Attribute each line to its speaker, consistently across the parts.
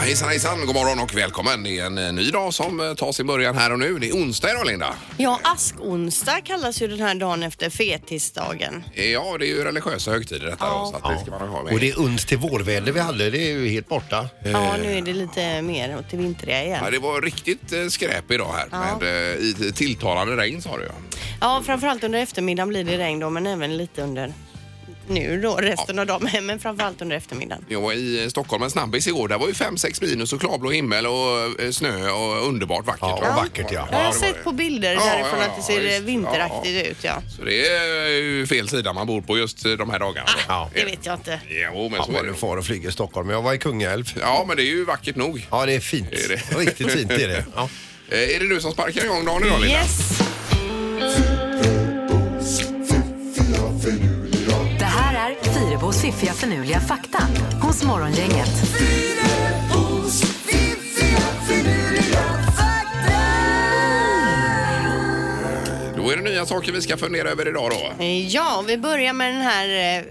Speaker 1: hejsan hejsan, god morgon och välkommen. Det är en eh, ny dag som eh, tar sin början här och nu. Det är onsdag idag Linda.
Speaker 2: Ja, askonsdag kallas ju den här dagen efter fetisdagen.
Speaker 1: Eh, Ja, det är ju religiösa högtider detta då, så att det ska man ha med.
Speaker 3: Och det är uns till vårväder vi hade, det är ju helt borta.
Speaker 2: Ja, nu är det lite mer åt det vintriga
Speaker 1: Eh. Ja,
Speaker 2: igen.
Speaker 1: det var riktigt eh, skräp idag här
Speaker 2: Ja.
Speaker 1: med eh, i- tilltalande regn sa du ja.
Speaker 2: Ja, framförallt under eftermiddagen blir det regn då, men även lite under nu då, resten av dagen, men framförallt under eftermiddagen.
Speaker 1: Jag var i eh, Stockholm en snabbis igår. Där var ju 5-6 minus och klarblå himmel och eh, snö och underbart vackert.
Speaker 3: Ja,
Speaker 1: va?
Speaker 3: vackert, ja.
Speaker 2: Jag har
Speaker 1: det var
Speaker 2: sett
Speaker 1: det.
Speaker 2: på bilder
Speaker 1: Ja,
Speaker 2: därifrån
Speaker 1: ja,
Speaker 2: att det
Speaker 1: ja,
Speaker 2: ser
Speaker 1: visst.
Speaker 2: vinteraktigt
Speaker 1: Ja, ja.
Speaker 2: ut, ja.
Speaker 1: Så det är eh, ju fel sida man bor på just eh, de här dagarna. då.
Speaker 3: Ja.
Speaker 2: Det vet jag inte.
Speaker 1: Jo, men
Speaker 3: Ja,
Speaker 1: så är
Speaker 3: vad
Speaker 1: det.
Speaker 3: du far och flyger i Stockholm. Jag var i Kungälv.
Speaker 1: Ja, men det är ju vackert nog.
Speaker 3: Ja, det är fint.
Speaker 1: Är det?
Speaker 3: Riktigt fint är det. Ja.
Speaker 1: Eh, Är det du som sparkar igång dagen idag, Linda?
Speaker 2: Yes!
Speaker 4: Det här är Fyrabos fiffiga förnuliga fakta hos Morgongänget.
Speaker 1: Då är det nya saker vi ska fundera över idag då.
Speaker 2: Eh, Ja, vi börjar med den här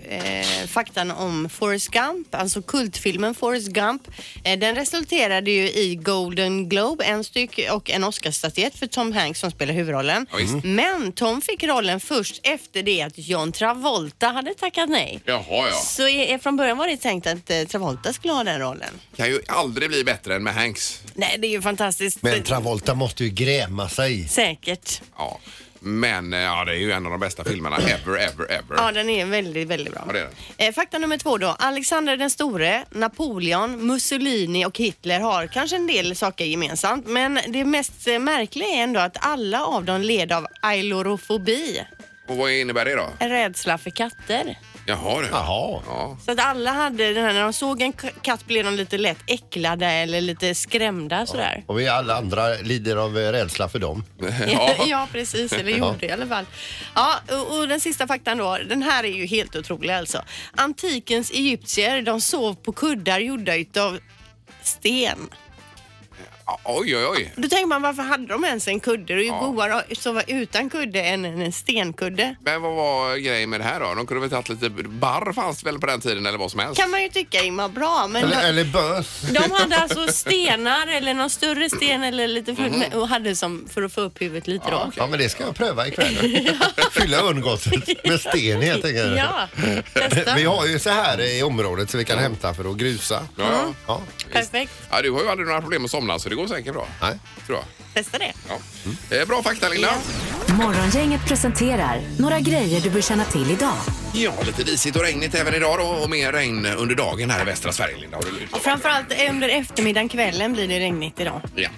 Speaker 2: eh, eh, faktan om Forrest Gump, alltså kultfilmen Forrest Gump. Eh, den resulterade ju i Golden Globe, en styck och en Oscarsstatyett för Tom Hanks som spelar huvudrollen. Mm.
Speaker 1: Ja, visst.
Speaker 2: Men Tom fick rollen först efter det att John Travolta hade tackat nej.
Speaker 1: Jaha, ja.
Speaker 2: Så i, från början var det tänkt att eh, Travolta skulle ha den rollen.
Speaker 1: Kan ju aldrig bli bättre än med Hanks.
Speaker 2: Nej, det är ju fantastiskt.
Speaker 3: Men Travolta måste ju gräma sig.
Speaker 2: Säkert.
Speaker 1: Ja. Men eh, ja, det är ju en av de bästa filmerna ever, ever, ever.
Speaker 2: Ja, den är väldigt, väldigt bra.
Speaker 1: Ja, det är
Speaker 2: Eh, Fakta nummer två då. Alexander den store, Napoleon, Mussolini och Hitler har kanske en del saker gemensamt. Men det mest eh, märkliga är ändå att alla av dem led av ailorofobi,
Speaker 1: Och vad innebär det då?
Speaker 2: rädsla för katter.
Speaker 1: Jaha, du.
Speaker 3: Jaha.
Speaker 1: Ja.
Speaker 2: Så att alla hade den här, när de såg en k- katt blev de lite lätt äcklade eller lite skrämda sådär.
Speaker 3: Och vi alla andra lider av eh, rädsla för dem.
Speaker 2: Ja. precis. Eller gjorde i alla fall. Ja, och, och den sista faktan då. Den här är ju helt otrolig alltså. Antikens egyptier, de sov på kuddar gjorda utav sten.
Speaker 1: Ja, Oj, oj, oj.
Speaker 2: Då tänker man varför hade de ens en kudde? Det är ju godare att sova utan kudde än en stenkudde.
Speaker 1: Men vad var grejen med det här då? De kunde väl tagit lite barr fanns det väl på den tiden eller vad som helst?
Speaker 2: Kan man ju tycka Ingmar bra men
Speaker 3: Eller, eller bös.
Speaker 2: de hade alltså stenar eller någon större sten eller lite för,
Speaker 3: Mm.
Speaker 2: och hade som för att få upp huvudet lite då.
Speaker 3: Ja, men det ska jag pröva ikväll. Fylla örngottet med sten helt enkelt.
Speaker 2: Ja, testa.
Speaker 3: Vi har ju så här i området så vi kan hämta för att grusa.
Speaker 1: Ja, ja.
Speaker 3: Ja.
Speaker 2: Perfekt.
Speaker 1: ja, du har ju aldrig några problem att somna så det går säkert bra.
Speaker 3: Nej.
Speaker 1: Tror jag.
Speaker 2: Testa det.
Speaker 1: Ja. Eh, Bra fakta Linda.
Speaker 4: Morgongänget presenterar några grejer du bör känna till idag.
Speaker 1: Ja, lite disigt och regnigt även idag då och mer regn under dagen här i västra Sverige Linda. Har du utlovat.
Speaker 2: Framförallt under eftermiddagen, kvällen blir det regnigt idag.
Speaker 1: Ja.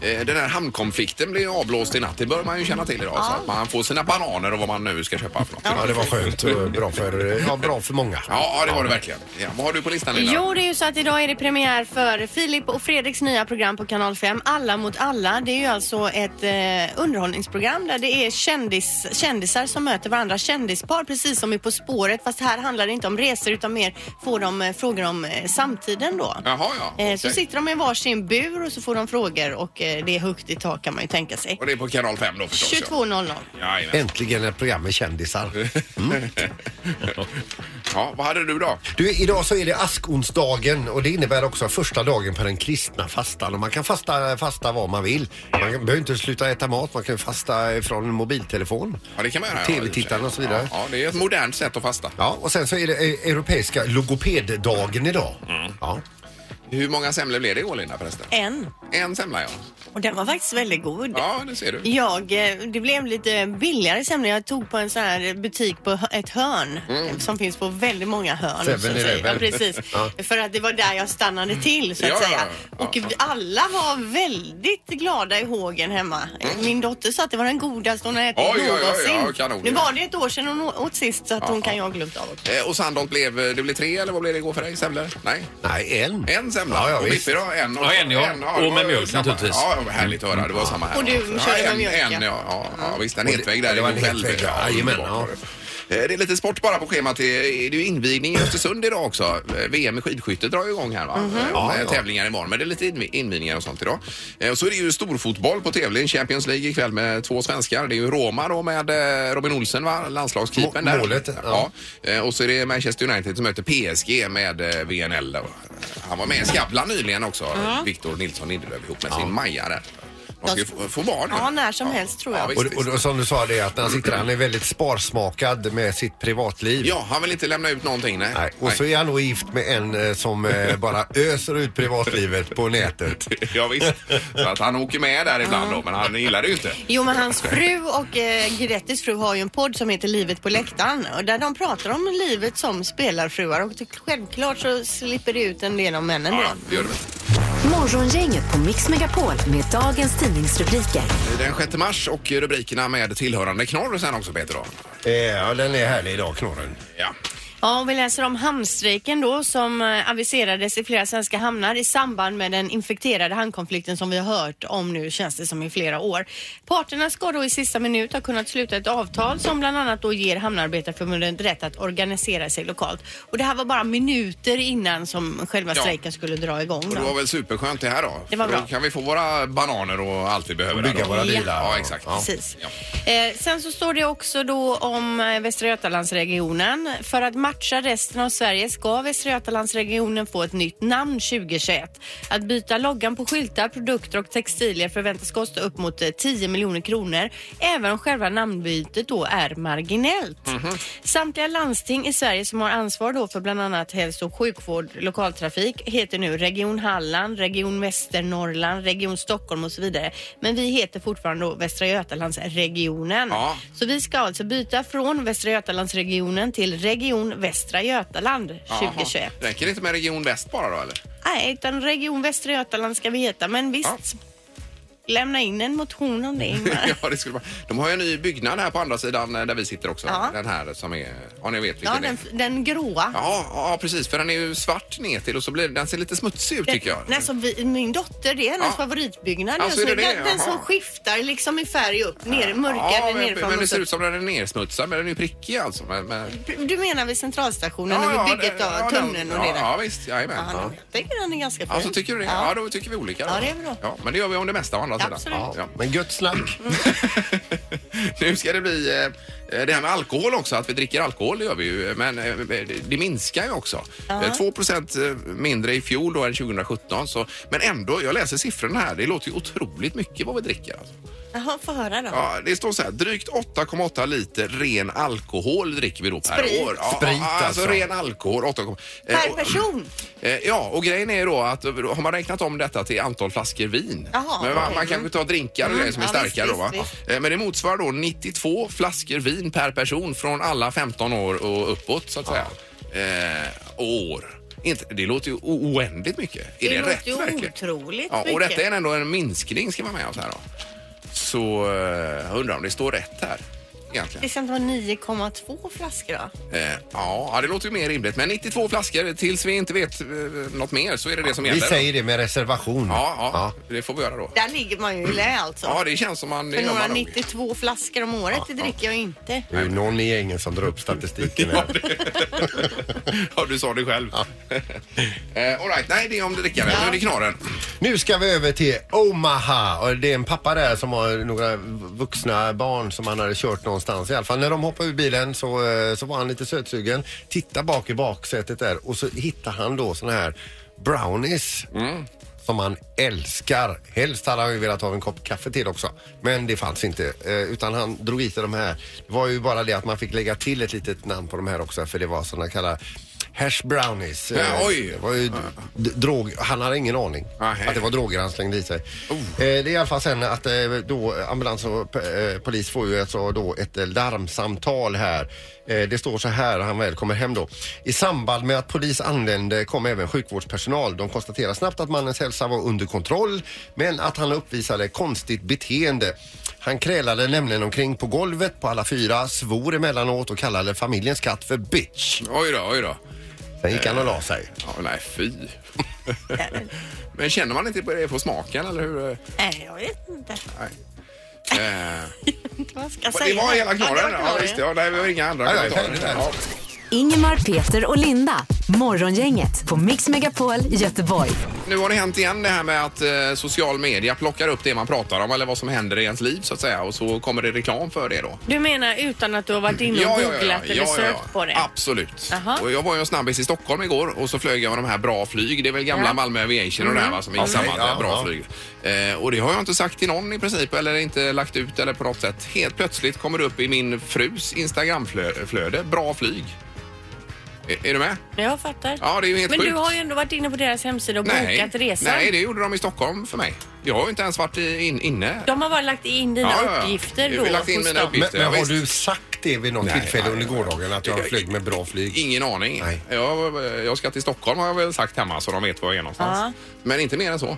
Speaker 1: Eh, Den här hamnkonflikten blev avblåst i natt. Det bör man ju känna till idag. Så att man får sina bananer och vad man nu ska köpa för något.
Speaker 3: Ja, det var skönt. och Bra för, ja, bra för många.
Speaker 1: Ja, ja, det var det verkligen. Ja. Vad har du på listan Linda?
Speaker 2: Jo, det är ju så att idag är det premiär för Filip och Fredriks nya program på Kanal 5, Alla mot alla. Det är ju alltså ett eh, underhållningsprogram där det är kändis, kändisar som möter varandra, kändispar, precis som i På spåret. Fast här handlar det inte om resor utan mer får de eh, frågor om eh, samtiden då.
Speaker 1: Jaha, ja.
Speaker 2: Eh, Så
Speaker 1: Okej.
Speaker 2: sitter de i varsin bur och så får de frågor och eh, det är högt i tak kan man ju tänka sig.
Speaker 1: Och det är på kanal 5 då förstås.
Speaker 2: 22.00.
Speaker 1: Ja. Jajamän.
Speaker 3: Äntligen ett program med kändisar.
Speaker 1: ja, vad hade du då?
Speaker 3: Du, idag så är det askonsdagen och det innebär också första dagen på den kristna fastan. Och man kan fasta, fasta vad man vill. Man kan- behöver inte sluta äta mat, man kan fasta från en mobiltelefon.
Speaker 1: Ja, det kan man göra. ja,
Speaker 3: TV-tittarna och så vidare.
Speaker 1: Ja, ja, det är ett modernt sätt att fasta.
Speaker 3: Ja, och sen så är det eh, europeiska logopeddagen idag.
Speaker 1: Mm.
Speaker 3: Ja.
Speaker 1: Hur många semlor blev det igår Linda förresten?
Speaker 2: En.
Speaker 1: En semla ja.
Speaker 2: Och den var faktiskt väldigt god.
Speaker 1: Ja, det ser du.
Speaker 2: Jag, eh, det blev lite billigare semla. Jag tog på en sån här butik på hö- ett hörn eh,
Speaker 1: Mm.
Speaker 2: som finns på väldigt många hörn. så att säga.
Speaker 3: 7-Eleven.
Speaker 2: Ja, precis. För att det var där jag stannade till så att
Speaker 1: Ja, ja,
Speaker 2: säga.
Speaker 1: ja.
Speaker 2: Och
Speaker 1: Ja.
Speaker 2: vi alla var väldigt glada i hågen hemma. Eh, Min dotter sa att det var den godaste hon har ätit
Speaker 1: Mm. Oj, oj, oj,
Speaker 2: någonsin.
Speaker 1: ja, kanon.
Speaker 2: nu var det ett år sedan hon å- åt sist så att hon kan ju ha glömt av också.
Speaker 1: Eh, Och Sandholt blev, det blev tre eller vad blev det igår för dig? Semlor? Nej?
Speaker 3: Nej, en.
Speaker 1: En semla?
Speaker 3: Mm. Ja, ja,
Speaker 1: och
Speaker 3: visst.
Speaker 1: Mippi då? En och,
Speaker 5: Ja, en, ja. Och
Speaker 1: det var
Speaker 5: med mjölk,
Speaker 1: samma.
Speaker 5: naturligtvis.
Speaker 1: Ja, det var härligt att höra. Det var samma här.
Speaker 2: Och du
Speaker 1: ja,
Speaker 2: körde
Speaker 1: en,
Speaker 2: med
Speaker 1: en,
Speaker 2: mjölk,
Speaker 1: ja.
Speaker 2: ja.
Speaker 1: Ja, ja, visst. En hetvägg där.
Speaker 3: Mm. det var
Speaker 1: i
Speaker 3: en hetvägg,
Speaker 1: Nobelväg.
Speaker 3: ja. Jajamän,
Speaker 1: underbart
Speaker 3: ja.
Speaker 1: var det. Eh, Det är lite sport bara på schemat. Det är det är ju invigning i Östersund idag också. Eh, VM i skidskytte drar ju igång här
Speaker 2: Mhm.
Speaker 1: va? Eh,
Speaker 3: Ja,
Speaker 1: Med
Speaker 3: ja.
Speaker 1: Tävlingar imorgon, men det är lite invi- invigningar och sånt idag. Eh, Och så är det ju storfotboll på tävling, Champions League ikväll med två svenskar. Det är ju Roma då med eh, Robin Olsen va, landslagskeepern
Speaker 3: Må-
Speaker 1: där.
Speaker 3: målet,
Speaker 1: Ja.
Speaker 3: ja.
Speaker 1: Eh, Och så är det Manchester United som möter PSG med eh, VNL. då. Han var med i Skavlan nyligen också, Victor Nilsson Lindelöf ihop med sin Maja där. De ska ju få, få barn nu.
Speaker 2: Ja, när som helst, tror jag.
Speaker 1: visst,
Speaker 3: Och, och, och som du sa, det är att när han sitter där, han är väldigt sparsmakad med sitt privatliv.
Speaker 1: Ja, han vill inte lämna ut någonting. Nej.
Speaker 3: Nej. Och så är han då gift med en eh, som eh, bara öser ut privatlivet på nätet.
Speaker 1: Ja, visst. Så att han åker med där ibland då, men han gillar det ju inte.
Speaker 2: Jo, men hans fru och eh, Grettis fru har ju en podd som heter Livet på läktaren och där de pratar om livet som spelarfruar och självklart så slipper det ut en del om männen
Speaker 1: Ja,
Speaker 2: då.
Speaker 1: ja, det gör det väl.
Speaker 4: Morgongänget på Mix Megapol med dagens tidningsrubriker.
Speaker 1: Den 6 mars och rubrikerna med tillhörande knorr sen också Peter då.
Speaker 3: Eh, ja, den är härlig idag, knorren.
Speaker 1: Ja.
Speaker 2: Ja, och vi läser om hamnstrejken då som eh, aviserades i flera svenska hamnar i samband med den infekterade hamnkonflikten som vi har hört om nu känns det som i flera år. Parterna ska då i sista minut ha kunnat sluta ett avtal som bland annat då ger Hamnarbetarförbundet rätt att organisera sig lokalt. Och det här var bara minuter innan som själva
Speaker 1: Ja.
Speaker 2: strejken skulle dra igång.
Speaker 1: Och det
Speaker 2: då.
Speaker 1: var väl superskönt det här då?
Speaker 2: Det var
Speaker 1: För då
Speaker 2: bra.
Speaker 1: kan vi få våra bananer och allt vi behöver.
Speaker 3: Och
Speaker 1: där
Speaker 3: bygga
Speaker 1: då.
Speaker 3: våra bilar.
Speaker 1: Ja, exakt.
Speaker 2: Precis.
Speaker 1: Ja.
Speaker 2: Eh, sen så står det också då om eh, Västra Götalandsregionen. För att matcha resten av Sverige ska Västra Götalandsregionen få ett nytt namn 2021. Att byta loggan på skyltar, produkter och textilier förväntas kosta upp mot eh, 10 miljoner kronor. Även om själva namnbytet då är marginellt.
Speaker 1: Mhm.
Speaker 2: Samtliga landsting i Sverige som har ansvar då för bland annat hälso och sjukvård, lokaltrafik heter nu Region Halland, Region Västernorrland, Region Stockholm och så vidare. Men vi heter fortfarande då Västra Götalandsregionen.
Speaker 1: Ja.
Speaker 2: Så vi ska alltså byta från Västra Götalandsregionen till Region Västra Götaland
Speaker 1: Jaha.
Speaker 2: 2021.
Speaker 1: Räcker det inte med Region Väst bara då eller?
Speaker 2: Nej, utan Region Västra Götaland ska vi heta, men visst. Lämna in en motion om det, Ingmar.
Speaker 1: Ja, det skulle vara. De har ju en ny byggnad här på andra sidan eh, där vi sitter också.
Speaker 2: Ja.
Speaker 1: Den här som är, ja ni vet vilken
Speaker 2: Ja,
Speaker 1: det är.
Speaker 2: den, den gråa.
Speaker 1: Ja, ja, precis. För den är ju svart ner till och så blir den ser lite smutsig ut tycker jag.
Speaker 2: Den, alltså, vi, min dotter, det är hennes
Speaker 1: Ja.
Speaker 2: favoritbyggnad
Speaker 1: Ja,
Speaker 2: just
Speaker 1: så är
Speaker 2: nu.
Speaker 1: det det,
Speaker 2: Den, den
Speaker 1: jaha.
Speaker 2: som skiftar liksom i färg upp, ner, mörkare
Speaker 1: Ja, men,
Speaker 2: nerifrån.
Speaker 1: men det
Speaker 2: och så-
Speaker 1: ser ut som den är nersmutsad, men den är ju prickig alltså. Men, men...
Speaker 2: Du menar vid centralstationen och vid bygget av
Speaker 1: ja,
Speaker 2: tunneln
Speaker 1: den-
Speaker 2: och det
Speaker 1: ja,
Speaker 2: där?
Speaker 1: ja, visst. Jajamän.
Speaker 2: Ja,
Speaker 1: Ja.
Speaker 2: den- Jag tycker den är ganska fin.
Speaker 1: Ja, så tycker du det? Ja. då tycker vi olika. Då.
Speaker 2: Ja, det är bra.
Speaker 1: Ja, men det gör vi om det mesta å andra sidan.
Speaker 2: Absolut.
Speaker 1: Ja.
Speaker 3: Men gött snack.
Speaker 1: nu ska det bli eh, det här med alkohol också, att vi dricker alkohol det gör vi ju, men eh, det- det minskar ju också. Eh, 2 mindre i fjol då än 2017, så, men ändå, jag läser siffrorna här, det låter ju otroligt mycket vad vi dricker. Alltså.
Speaker 2: Jaha, få höra då.
Speaker 1: Ja, det står så här, drygt 8,8 liter ren alkohol dricker vi då per
Speaker 2: Sprit.
Speaker 1: år. Ja,
Speaker 3: Sprit,
Speaker 1: alltså.
Speaker 3: alltså.
Speaker 1: ren alkohol. 8, eh,
Speaker 2: Per person?
Speaker 1: Ja, och grejen är ju då att då har man räknat om detta till antal flaskor vin.
Speaker 2: Jaha,
Speaker 1: men man,
Speaker 2: okej.
Speaker 1: man kanske tar drinkar och
Speaker 2: Mm,
Speaker 1: grejer som är
Speaker 2: ja,
Speaker 1: starkare
Speaker 2: visst,
Speaker 1: då va?
Speaker 2: visst,
Speaker 1: Eh, Men det motsvarar då 92 flaskor vin per person från alla 15 år och uppåt så att säga. Eh, år. Inte, det låter ju o- oändligt mycket. Är det,
Speaker 2: Det låter
Speaker 1: rätt
Speaker 2: ju
Speaker 1: verkligen?
Speaker 2: otroligt
Speaker 1: ja, Och
Speaker 2: mycket.
Speaker 1: detta är ändå en minskning ska man med oss här då. Så eh, jag undrar om det står rätt här.
Speaker 2: Det
Speaker 1: Egentligen.
Speaker 2: ska inte vara 9,2 flaskor då?
Speaker 1: Eh, ja, det låter ju mer rimligt. Men 92 flaskor tills vi inte vet eh, något mer så är det det som
Speaker 3: Vi
Speaker 1: gäller.
Speaker 3: säger det med reservation.
Speaker 1: Ja, ja, det får vi göra då.
Speaker 2: Där ligger man ju i lä alltså.
Speaker 1: Ja, det känns som man... det
Speaker 2: För
Speaker 1: gör
Speaker 2: några
Speaker 1: man nog.
Speaker 2: 92 flaskor om året, det dricker jag ju inte.
Speaker 3: Det är ju någon i gängen som drar upp statistiken här.
Speaker 1: Ja, du sa det själv. eh, all right, nej det är om det drickande. Nu är det knorren.
Speaker 3: Nu ska vi över till Omaha. Och det är en pappa där som har några vuxna barn som han hade kört någonstans. I alla fall när de hoppade ur bilen så, eh, så var han lite sötsugen. Titta bak i baksätet där och så hittar han då såna här brownies.
Speaker 1: Mm.
Speaker 3: Som han älskar. Helst hade han ju velat ha en kopp kaffe till också. Men det fanns inte. eh, Utan han drog i sig de här. Det var ju bara det att man fick lägga till ett litet namn på de här också. För det var såna kallade hash brownies. Eh,
Speaker 1: Ja, oj.
Speaker 3: Det var ju d- d- drog. Han hade ingen aning
Speaker 1: Nej. Oh.
Speaker 3: att det var droger han slängde i sig. Eh, det är i alla fall sen att eh, då ambulans och p- eh, polis får ju alltså då ett eh, larmsamtal här. Eh, det står så här när han väl kommer hem då. I samband med att polis anlände kom även sjukvårdspersonal. De konstaterar snabbt att mannens hälsa var under kontroll men att han uppvisade konstigt beteende. Han krälade nämligen omkring på golvet på alla fyra, svor emellanåt och kallade familjens katt för bitch.
Speaker 1: Oj då, oj då.
Speaker 3: Sen gick han och la sig.
Speaker 1: Ja, nej, fy. Men känner man inte på Eh, det på smaken eller hur?
Speaker 2: Nej, jag vet inte.
Speaker 1: Eh,
Speaker 2: Vad ska jag
Speaker 1: Det
Speaker 2: säga?
Speaker 1: var hela knorren. Ja,
Speaker 2: knorren.
Speaker 1: visst. Ja, nej, vi har inga andra
Speaker 3: Ja, ja,
Speaker 1: kommentarer.
Speaker 3: ja, ja.
Speaker 1: Ja.
Speaker 4: Ingemar, Peter och Linda. Morgongänget på Mix Megapol Göteborg.
Speaker 1: Nu har det hänt igen det här med att eh, social media plockar upp det man pratar om eller vad som händer i ens liv så att säga och så kommer det reklam för det då.
Speaker 2: Du menar utan att du har varit inne och googlat eller sökt på det?
Speaker 1: Absolut.
Speaker 2: Jaha.
Speaker 1: Och jag var ju en snabbis i Stockholm igår och så flög jag med de här Bra flyg. Det är väl gamla
Speaker 2: Ja. Mm.
Speaker 1: Malmö Aviation och det här va, som är
Speaker 3: Okej,
Speaker 1: samma
Speaker 3: ja,
Speaker 1: Bra
Speaker 3: ja.
Speaker 1: flyg. Eh, och det har jag inte sagt till någon i princip eller inte lagt ut eller på något sätt. Helt plötsligt kommer det upp i min frus Instagramflöde, Bra flyg. Är, är du med?
Speaker 2: Jag fattar.
Speaker 1: Ja, det är ju helt
Speaker 2: Men
Speaker 1: sjukt.
Speaker 2: du har ju ändå varit inne på deras hemsida och bokat resor.
Speaker 1: nej, det gjorde de i Stockholm för mig. Jag har ju inte ens varit i- in, inne.
Speaker 2: De har bara lagt in dina uppgifter
Speaker 1: Vi
Speaker 2: då
Speaker 1: har lagt in
Speaker 2: hos
Speaker 1: mina
Speaker 2: dem.
Speaker 1: uppgifter.
Speaker 3: Men, men
Speaker 1: ja,
Speaker 3: har
Speaker 1: visst.
Speaker 3: du sagt det vid något
Speaker 1: Nej,
Speaker 3: tillfälle
Speaker 1: nej.
Speaker 3: under gårdagen att jag flög med bra flyg?
Speaker 1: Ingen aning.
Speaker 3: Nej.
Speaker 1: Jag, jag ska till Stockholm har jag väl sagt hemma så de vet var jag är någonstans.
Speaker 2: Ja.
Speaker 1: Men inte mer än så.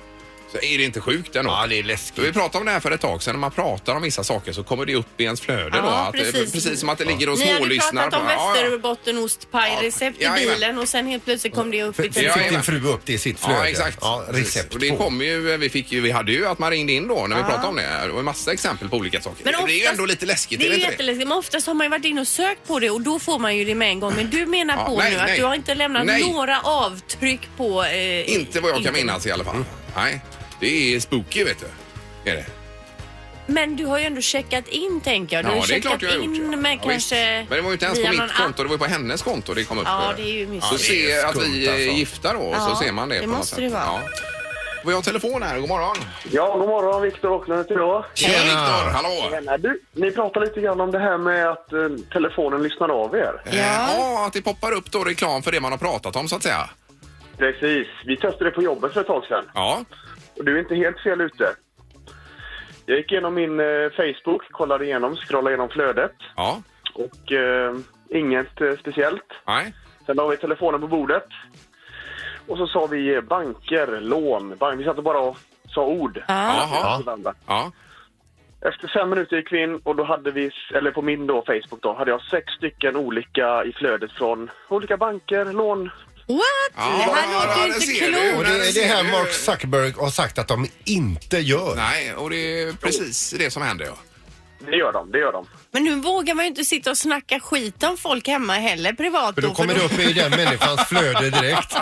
Speaker 1: Så är det inte sjukt ändå.
Speaker 3: Ja, det är
Speaker 1: För Vi
Speaker 3: läskigt.
Speaker 1: pratade om det här för ett tag sedan. När man pratar om vissa saker så kommer det upp i ens flöde
Speaker 2: Ja,
Speaker 1: då. Att,
Speaker 2: precis.
Speaker 1: precis. precis som att det ligger och
Speaker 2: Ni hade
Speaker 1: smålyssnar.
Speaker 2: pratat om
Speaker 1: på- Ja, ja.
Speaker 2: Västerbottenostpajrecept
Speaker 1: Ja,
Speaker 2: i
Speaker 1: jajamän.
Speaker 2: bilen och sen helt plötsligt kom det upp i
Speaker 3: Fick
Speaker 1: Ja,
Speaker 2: telefonen.
Speaker 3: din fru upp det i sitt flöde?
Speaker 1: Ja, exakt.
Speaker 3: Ja, recept
Speaker 1: Precis. och det
Speaker 3: på.
Speaker 1: kom ju, vi, fick ju, vi hade ju att man ringde in då när vi pratade om det. Det var en massa exempel på olika saker.
Speaker 2: Men
Speaker 1: det är ju
Speaker 2: oftast-
Speaker 1: ändå lite läskigt,
Speaker 2: Det
Speaker 1: är
Speaker 2: är
Speaker 1: det
Speaker 2: ju
Speaker 1: inte det?
Speaker 2: jätteläskigt, men oftast har man ju varit inne och sökt på det och då får man ju det med en gång. Men du menar
Speaker 1: Ja,
Speaker 2: på
Speaker 1: nej,
Speaker 2: nu att
Speaker 1: nej.
Speaker 2: du har inte lämnat
Speaker 1: Nej.
Speaker 2: några avtryck på... Eh,
Speaker 1: Inte vad jag kan
Speaker 2: internet.
Speaker 1: minnas i alla fall. Nej, det är spooky vet du. Är det?
Speaker 2: Men du har ju ändå checkat in tänker jag. Du har
Speaker 1: det är
Speaker 2: checkat
Speaker 1: klart jag har gjort.
Speaker 2: in
Speaker 1: ja.
Speaker 2: med
Speaker 1: Ja, visst.
Speaker 2: kanske...
Speaker 1: Men det var ju inte ens på
Speaker 2: via
Speaker 1: mitt
Speaker 2: någon
Speaker 1: konto, det var ju på hennes konto det kom upp.
Speaker 2: Ja, det är ju mysigt.
Speaker 1: Så
Speaker 3: Ja, det är
Speaker 1: se att vi
Speaker 3: skumt,
Speaker 1: är
Speaker 3: alltså.
Speaker 1: gifta då och
Speaker 2: Ja,
Speaker 1: så ser man det,
Speaker 2: det
Speaker 1: på något
Speaker 2: måste
Speaker 1: sätt.
Speaker 2: det vara.
Speaker 1: Ja. Vi har telefon här, god morgon.
Speaker 5: Ja, god morgon. Viktor Åkerlund heter jag.
Speaker 1: Tjena! Viktor, hallå!
Speaker 5: Tjena, Du, ni pratar lite grann om det här med att eh, telefonen lyssnar av er.
Speaker 1: Eh, ja, att det poppar upp då reklam för det man har pratat om så att säga.
Speaker 5: Precis. Vi testade det på jobbet för ett tag sedan.
Speaker 1: Ja,
Speaker 5: Och du är inte helt fel ute. Jag gick igenom min eh, Facebook, kollade igenom, scrollade igenom flödet.
Speaker 1: ja,
Speaker 5: Och eh, inget eh, speciellt.
Speaker 1: nej.
Speaker 5: Sen la vi telefonen på bordet. Och så sa vi eh, banker, lån, bank. Vi satt och bara och sa ord.
Speaker 2: Ja.
Speaker 1: Jaha.
Speaker 5: till varandra.
Speaker 1: Ja.
Speaker 5: Efter fem minuter gick vi in och då hade vi, eller på min då, Facebook då, hade jag sex stycken olika i flödet från olika banker, lån.
Speaker 2: What?
Speaker 1: Ja,
Speaker 2: det här
Speaker 1: ja,
Speaker 2: låter
Speaker 1: det
Speaker 2: inte
Speaker 1: ser du.
Speaker 2: klokt.
Speaker 3: Och det är det här
Speaker 1: Nej, eh,
Speaker 3: Mark Zuckerberg har sagt att de inte gör.
Speaker 1: Nej, och det är precis det som händer ja.
Speaker 5: Det gör de, det gör de.
Speaker 2: Men nu vågar man ju inte sitta och snacka skit om folk hemma heller privat.
Speaker 3: För då kommer det upp i den människans flöde direkt.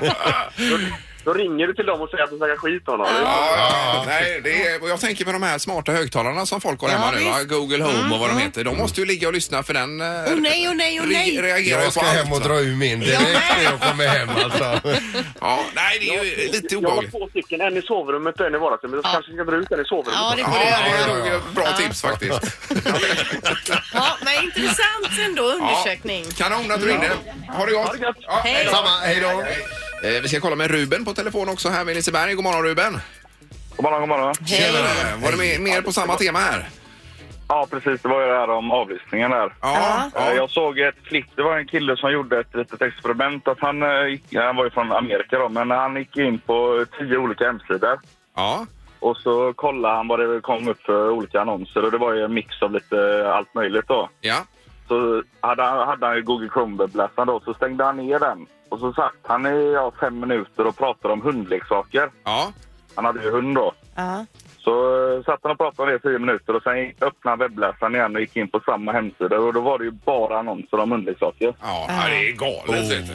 Speaker 5: Då ringer du till dem och säger att de snackar skit om dem.
Speaker 1: Ja, ja, nej, det är, och jag tänker på de här smarta högtalarna som folk har
Speaker 2: Ja,
Speaker 1: hemma nu,
Speaker 2: visst. Mm,
Speaker 1: va? Google Home och vad de heter. De måste ju ligga och lyssna för den... eh,
Speaker 2: Åh nej, åh nej, åh nej.
Speaker 1: Reagerar ju
Speaker 3: Jag
Speaker 1: på
Speaker 3: ska hem och
Speaker 1: allt.
Speaker 3: dra ur min direkt när jag kommer hem alltså.
Speaker 1: Ja, nej, det är ju lite
Speaker 5: Jag har
Speaker 1: obehagligt.
Speaker 5: två stycken, en i sovrummet och en i vardagsrummet. Jag kanske ska dra ut den i sovrummet.
Speaker 2: Ja, det
Speaker 1: Ja,
Speaker 2: får du
Speaker 1: det
Speaker 2: göra.
Speaker 1: är nog ett bra tips faktiskt.
Speaker 2: Ja, men intressant ändå
Speaker 1: Ja,
Speaker 2: undersökning.
Speaker 1: kanon att du ringde. Ha det
Speaker 5: Ha det
Speaker 1: gott.
Speaker 5: gött.
Speaker 1: Ja, hej då.
Speaker 3: Samma, hej då.
Speaker 1: Eh, Vi ska kolla med Ruben på telefon också här vid Liseberg. God morgon Ruben.
Speaker 6: God morgon, god morgon.
Speaker 1: Tjena. Var det med, mer på samma tema här?
Speaker 6: Ja, precis. Det var ju det här om avlyssningen där.
Speaker 1: Ja.
Speaker 6: Eh,
Speaker 1: ja.
Speaker 6: Jag såg ett klipp. Det var en kille som gjorde ett litet experiment. Att han, eh, gick- han var ju från Amerika då, men han gick in på tio olika hemsidor.
Speaker 1: ja.
Speaker 6: Och så kollade han vad det kom upp för olika annonser och det var ju en mix av lite eh, allt möjligt då.
Speaker 1: Ja.
Speaker 6: Så hade han, hade han ju Google Chrome-webbläsaren då, så stängde han ner den. Och så satt han i ja, fem minuter och pratade om hundleksaker.
Speaker 1: Ja.
Speaker 6: Han hade ju hund då.
Speaker 2: Ja.
Speaker 6: Så eh, satt han och pratade om det i tio minuter och sen öppnade han webbläsaren igen och gick in på samma hemsida och då var det ju bara annonser om hundleksaker.
Speaker 1: Ja, ja, det är galet.
Speaker 3: Oh.
Speaker 1: vet du.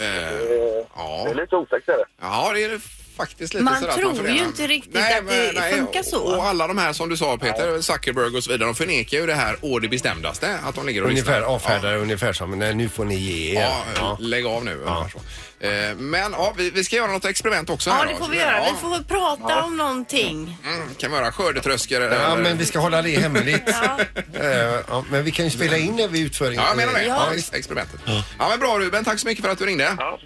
Speaker 1: Eh,
Speaker 6: Det är
Speaker 1: ja.
Speaker 6: lite otäckt är det.
Speaker 1: ja, det är det faktiskt lite
Speaker 2: Man
Speaker 1: sådär att
Speaker 2: tror
Speaker 1: funderar.
Speaker 2: ju inte riktigt att det funkar så.
Speaker 1: Och alla de här som du sa Peter, Zuckerberg och så vidare, de förnekar ju det här å det bestämdaste att de ligger och
Speaker 3: Ungefär
Speaker 1: lyssnar.
Speaker 3: avfärdar ungefär som, nej nu får ni ge er.
Speaker 1: Ja, ja, lägg av nu. ungefär så. Eh, Men ja, vi, vi ska göra något experiment också.
Speaker 2: ja,
Speaker 1: här
Speaker 2: det
Speaker 1: då.
Speaker 2: får vi
Speaker 1: Så,
Speaker 2: göra.
Speaker 1: ja,
Speaker 2: Vi får prata om någonting.
Speaker 1: mm, Kan vi göra skördetröskor?
Speaker 3: Ja,
Speaker 1: eller-
Speaker 3: men vi ska hålla det hemligt.
Speaker 2: Ja.
Speaker 3: Eh, ja, men vi kan ju spela in när vi utför
Speaker 1: Ja, jag menar det.
Speaker 3: eh,
Speaker 1: Ja,
Speaker 3: visst.
Speaker 1: experimentet. Ja. men bra Ruben, tack så mycket för att du ringde.
Speaker 6: Ja.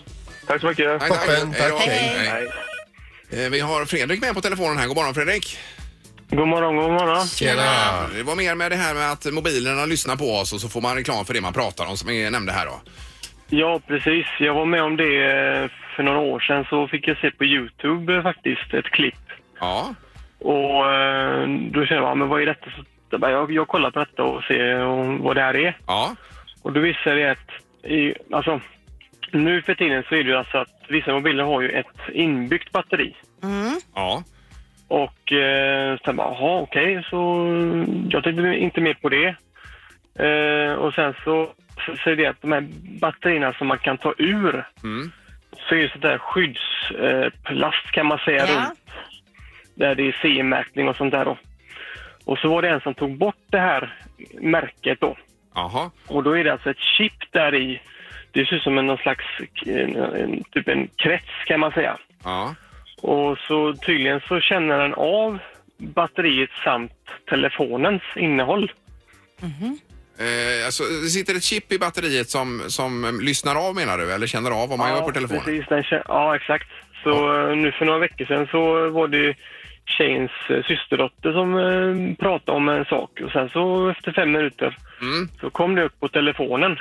Speaker 6: Tack så mycket.
Speaker 1: Nej,
Speaker 3: Toppen,
Speaker 1: Hej då.
Speaker 3: tack,
Speaker 2: hej.
Speaker 1: Eh, Vi har Fredrik med på telefonen här. God morgon Fredrik.
Speaker 5: God morgon, god morgon.
Speaker 3: Tjena.
Speaker 1: Det var mer med det här med att mobilerna lyssnar på oss och så får man reklam för det man pratar om som jag nämnde här då.
Speaker 5: Ja, precis. Jag var med om det eh, för några år sedan så fick jag se på Youtube eh, faktiskt ett klipp.
Speaker 1: Ja,
Speaker 5: Och eh, då kände jag, men vad är detta? jag, jag kollar på detta och ser eh, vad det här är.
Speaker 1: ja,
Speaker 5: Och då visar det att, i, alltså, nu för
Speaker 2: Mm.
Speaker 5: tiden så är det ju alltså att vissa mobiler har ju ett inbyggt batteri.
Speaker 1: ja.
Speaker 5: Och eh, sen bara, jaha okej, så jag tänkte inte mer på det. Eh, och sen så så säger det att de här batterierna som man kan ta ur,
Speaker 1: Mm.
Speaker 5: så är det sånt där skyddsplast eh, plast kan man
Speaker 2: Ja.
Speaker 5: säga runt. Där det är CE-märkning och sånt där då. Och så var det en som tog bort det här märket då.
Speaker 1: Jaha.
Speaker 5: Och då är det alltså ett chip där i. Det ser ut som en någon slags en, en, typ en krets kan man säga.
Speaker 1: Ja.
Speaker 5: Och så tydligen så känner den av batteriet samt telefonens innehåll.
Speaker 1: Eh, alltså, det sitter ett chip i batteriet som, som eh, lyssnar av menar du? Eller känner av vad man gör på telefonen?
Speaker 5: Precis, den, kä- ja, exakt. Så eh, nu för några veckor sedan så var det ju tjejens eh, systerdotter som eh, pratade om en sak och sen så efter fem minuter
Speaker 1: Mm.
Speaker 5: så kom det upp på telefonen.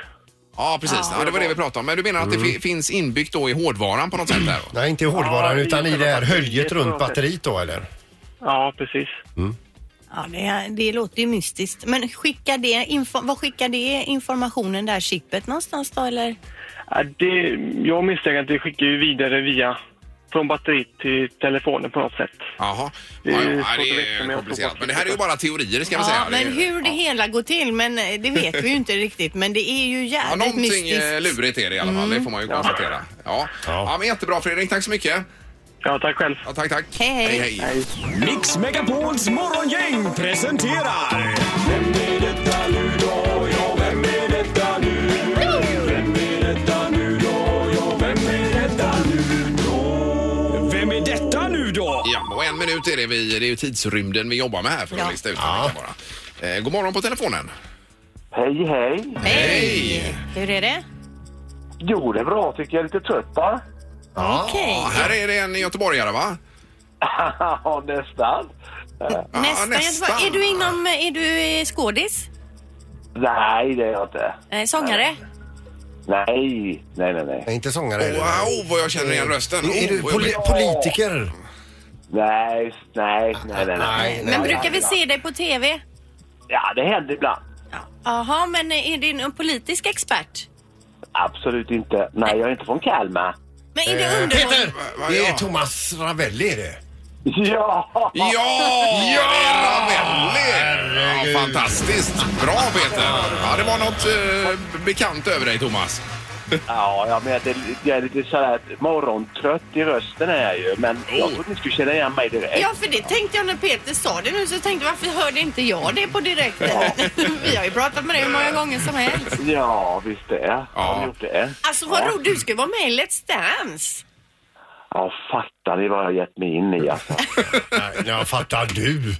Speaker 1: Ja, precis. Ja. det var det vi pratade om. Men du menar att det
Speaker 5: Mm.
Speaker 1: fi- finns inbyggt då i hårdvaran på något sätt där? Då?
Speaker 3: Nej, inte i hårdvaran
Speaker 5: Ja,
Speaker 3: utan
Speaker 5: det
Speaker 3: i
Speaker 5: är
Speaker 3: det här
Speaker 5: själva
Speaker 3: höljet
Speaker 5: batteriet på
Speaker 3: runt
Speaker 5: något sätt.
Speaker 3: batteriet då eller?
Speaker 5: Ja, precis.
Speaker 2: Ja, det, det låter ju mystiskt. Men skickar det, info, vad skickar det informationen, det här chippet någonstans då eller?
Speaker 5: Ja, det, jag misstänker att det skickar ju vidare via från batteriet till telefonen på något sätt.
Speaker 1: Jaha.
Speaker 5: Det
Speaker 1: Ja, ja,
Speaker 5: är svårt
Speaker 1: ja,
Speaker 5: att
Speaker 1: det
Speaker 5: veta, men
Speaker 1: är
Speaker 5: jag
Speaker 1: komplicerat.
Speaker 5: tror
Speaker 1: Men det här är ju bara teorier ska man
Speaker 2: Ja,
Speaker 1: säga. Det är-
Speaker 2: men hur det
Speaker 1: ja.
Speaker 2: hela går till, men eh, det vet vi ju inte riktigt. Men det är ju
Speaker 1: Ja,
Speaker 2: jävligt
Speaker 1: någonting
Speaker 2: mystiskt.
Speaker 1: eh, lurigt är det i alla fall,
Speaker 5: Mm.
Speaker 1: det får man ju konstatera. Ja. Ja.
Speaker 3: Ja.
Speaker 1: men jättebra Fredrik, tack så mycket.
Speaker 5: Ja, tack själv.
Speaker 1: Ja, tack, tack.
Speaker 2: Hej, hej.
Speaker 5: Hej.
Speaker 7: Mix Megapols morgongäng presenterar... Vem är detta nu då? Ja, vem är detta nu? Vem är detta nu då? Ja, vem är detta nu då? Vem är detta nu då?
Speaker 1: Ja, och en minut är det, vi, det är ju tidsrymden vi jobbar med här för att
Speaker 2: Ja.
Speaker 1: lista ut ja. bara. Eh, god morgon på telefonen.
Speaker 6: Hej, hej!
Speaker 1: Hej!
Speaker 2: Hur är det?
Speaker 6: Jo, det är bra tycker jag. är Lite trött va?
Speaker 2: Okej.
Speaker 1: Ja, här är det en göteborgare va?
Speaker 6: Ja, nästan. Eh,
Speaker 1: Ja,
Speaker 2: Nästan. Göteborg. Är du inom, är du eh, skådis?
Speaker 6: Nej, det är jag inte.
Speaker 2: Eh, sångare?
Speaker 6: Nej, nej, nej. Nej,
Speaker 3: Nej, inte sångare
Speaker 1: Åh,
Speaker 3: eller?
Speaker 1: oh, vad jag känner igen rösten.
Speaker 3: Eh, Är du
Speaker 1: Oh, vad jobbigt.
Speaker 3: poli- politiker?
Speaker 6: nej, nej, nej. nej,
Speaker 3: Nej,
Speaker 2: Men brukar vi se dig på TV?
Speaker 6: Ja, det händer ibland.
Speaker 2: Jaha, men eh, är du en politisk expert?
Speaker 6: Absolut inte. Nej, jag är inte från Kalmar.
Speaker 2: Men är det
Speaker 3: Eh,
Speaker 2: underhållning?
Speaker 3: Peter!
Speaker 1: Vad- vad
Speaker 3: Det är
Speaker 1: jag?
Speaker 3: Thomas Ravelli är det.
Speaker 6: Ja!
Speaker 1: Ja! ja! Det är Ravelli! Ja, fantastiskt! Bra Peter! Ja, det var något eh, bekant över dig Thomas.
Speaker 6: Ja, jag, menar, det, jag är lite så här morgontrött i rösten är jag ju. Men jag trodde ni skulle känna igen mig direkt.
Speaker 2: Ja, för det tänkte jag när Peter sa det nu så tänkte jag varför hörde inte jag det på direkten? Vi har ju pratat med dig hur många gånger som helst.
Speaker 6: Ja, visst det. Har ni gjort det?
Speaker 2: Alltså vad roligt, du ska vara med i Let's Dance.
Speaker 6: Ja, fattar ni vad jag har gett mig in i alltså.
Speaker 3: Nej, jag fattar du.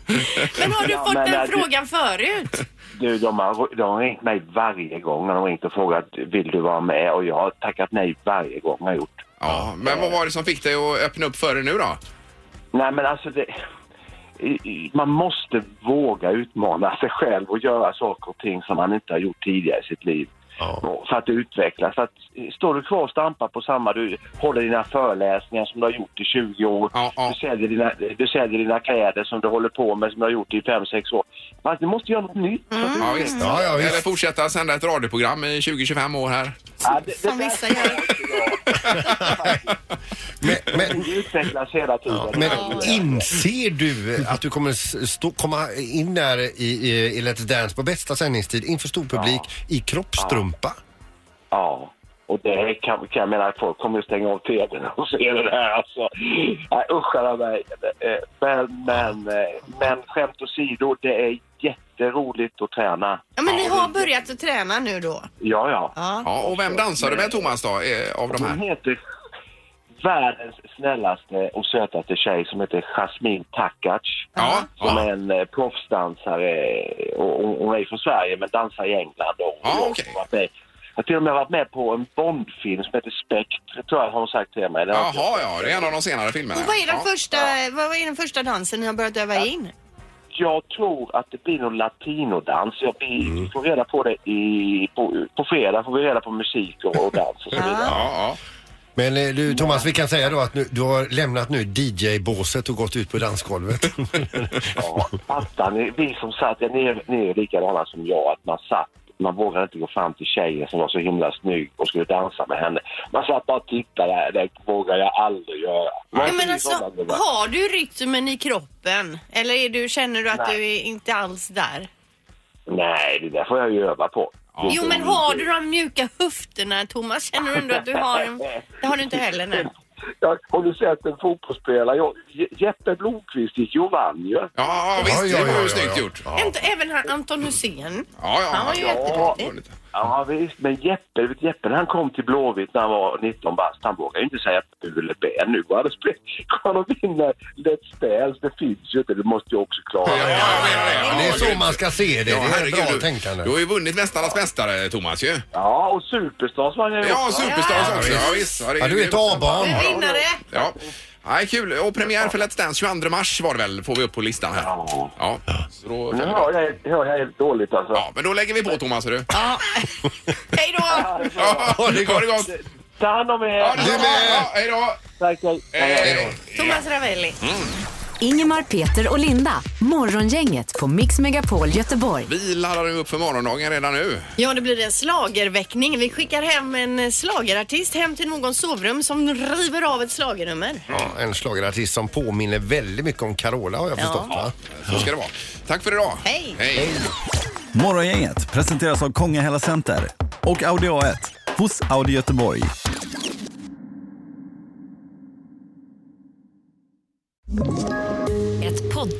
Speaker 2: Men har du
Speaker 6: Ja,
Speaker 2: fått
Speaker 6: men,
Speaker 2: den
Speaker 6: äh, du-
Speaker 2: frågan förut?
Speaker 6: Du, de har, de har ringt mig varje gång när de har ringt och frågat vill du vara med och jag har tackat nej varje gång jag har gjort.
Speaker 1: Ja, men vad var det som fick dig att öppna upp för det nu då?
Speaker 6: Nej men alltså det, i- i- man måste våga utmana sig själv och göra saker och ting som man inte har gjort tidigare i sitt liv.
Speaker 3: Ja.
Speaker 6: Och För att utvecklas. För att, eh, står du kvar och stampar på samma, du håller dina föreläsningar som du har gjort i 20 år.
Speaker 1: Ja, ja.
Speaker 6: Du, säljer dina, du säljer dina kläder som du håller på med som du har gjort i 5-6 år. Man, du måste göra något nytt. för att
Speaker 1: Mm. Ja,
Speaker 6: utvecklas.
Speaker 1: visst.
Speaker 3: Ja, ja, visst.
Speaker 1: Eller fortsätta sända ett radioprogram i 20-25 år här.
Speaker 6: Ja, det- det
Speaker 2: Som
Speaker 6: där
Speaker 2: vissa
Speaker 6: ska
Speaker 2: gör.
Speaker 6: jag inte
Speaker 3: Men, men,
Speaker 6: göra. Vi utvecklas hela tiden.
Speaker 3: men inser du att du kommer s- stå, komma in där i, i, i Let's Dance på bästa sändningstid inför stor publik i kroppstrumpa?
Speaker 6: Ja, och det kan, kan jag mena, folk kommer ju stänga av tvn och se det där alltså. Nej, usch alla mig. Eh, Men, men, eh, men skämt åsido, det är jätteroligt att träna.
Speaker 2: Ja, men ni har börjat att träna nu då?
Speaker 6: Ja, ja.
Speaker 2: Ja.
Speaker 1: Ja, och vem dansar du med Thomas då, eh, av de
Speaker 6: Hon
Speaker 1: här?
Speaker 6: heter världens snällaste och sötaste tjej som heter Jasmine Takac.
Speaker 1: Ja,
Speaker 6: Som
Speaker 1: ja.
Speaker 6: är en eh, proffsdansare. eh, Och, hon- hon är från Sverige men dansar i England. Och,
Speaker 1: Ja,
Speaker 6: och
Speaker 1: okej.
Speaker 6: har varit med- Jag har till och med varit med på en Bondfilm som heter Spekt, tror jag har hon sagt till mig. Det har jag inte
Speaker 1: Jaha, ja, det är en av de senare filmerna.
Speaker 2: Och vad är, den
Speaker 1: ja.
Speaker 2: första, vad är den första dansen ni har börjat öva in?
Speaker 6: Jag tror att det blir någon latinodans. Jag blir,
Speaker 1: Mm.
Speaker 6: Vi får reda på det i, på, på fredag. får vi reda på musik och, och dans
Speaker 1: Ah.
Speaker 6: och så vidare.
Speaker 1: Ja, ja.
Speaker 3: Men eh, du Thomas, vi kan säga då att nu, du har lämnat nu DJ-båset och gått ut på dansgolvet.
Speaker 6: Ja, fattar ni? Vi som satt, ni är, ni är likadana som jag, att man satt man vågade inte gå fram till tjejen som var så himla snygg och skulle dansa med henne. Man satt bara och tittade. Det vågar jag aldrig göra.
Speaker 2: Nej, men
Speaker 6: fy
Speaker 2: alltså,
Speaker 6: förbannat, det var.
Speaker 2: har du rytmen i kroppen? Eller är du, känner du att
Speaker 6: Nej.
Speaker 2: du är inte alls där?
Speaker 6: Nej, det där får jag ju öva på.
Speaker 2: Jo, men har du de mjuka höfterna, Thomas? Känner du ändå att du har dem? Det har du inte heller, nej.
Speaker 6: Ja, har du sett en fotbollsspelare? Jag, Je- Jeppe Blomqvist gick ju och vann ju.
Speaker 1: Ja, visst.
Speaker 3: Oj, oj,
Speaker 1: det var ju
Speaker 3: oj,
Speaker 1: snyggt
Speaker 3: oj.
Speaker 1: gjort. Ja,
Speaker 2: Inte, även han, Anton Hussein.
Speaker 1: ja.
Speaker 2: Han var ju
Speaker 1: ja.
Speaker 2: jätteduktig.
Speaker 6: Ja visst, men Jeppe, vet du, Jeppe när han kom till Blåvitt när han var 19 bast, han vågade ju inte säga bu eller bä. Nu går han och spe- går han och vinner Let's Dance. Det finns ju inte, det måste jag också klara.
Speaker 1: Ja, jag menar det.
Speaker 3: Ja, det är så man ska se det.
Speaker 1: Ja,
Speaker 3: det är
Speaker 1: herregud,
Speaker 3: bra
Speaker 1: du,
Speaker 3: tänkande.
Speaker 1: du har ju vunnit Mästarnas mästare, Thomas ju.
Speaker 6: Ja, och Superstars var han ju
Speaker 1: Ja,
Speaker 6: också.
Speaker 1: Superstars
Speaker 2: Ja,
Speaker 1: också. Ja, visst. det
Speaker 3: Ja, du är ett A-barn.
Speaker 2: Du är vinnare.
Speaker 1: Ja. Nej, kul. Och premiär för Let's Dance 22 mars var det väl, får vi upp på listan här.
Speaker 6: Ja.
Speaker 1: Ja. Så då,
Speaker 6: Nu hör jag, hör jag helt dåligt alltså.
Speaker 1: ja, men då lägger vi på Thomas, är du.
Speaker 2: Ja. Hej då!
Speaker 1: Ja, ha det gott!
Speaker 6: Ta hand om er!
Speaker 1: Ja, detsamma.
Speaker 3: med.
Speaker 1: Ja, Hej då!
Speaker 6: Tack,
Speaker 1: Hej, hej
Speaker 2: Thomas Ravelli.
Speaker 4: Ingemar, Peter och Linda. Morgongänget på Mix Megapol Göteborg.
Speaker 1: då! Vi laddar nu upp för morgondagen redan nu.
Speaker 2: Ja, det blir en slagerväckning. Vi skickar hem en slagerartist hem till någons sovrum som river av ett slagernummer.
Speaker 3: Ja, en schlagerartist som påminner väldigt mycket om Carola har jag
Speaker 2: Ja.
Speaker 3: förstått. Va?
Speaker 1: Så ska det vara. Tack för idag.
Speaker 2: Hej.
Speaker 1: Hej.
Speaker 8: Morgongänget presenteras av Kongahälla Center och Audi A1 hos Audi Göteborg.
Speaker 9: Ett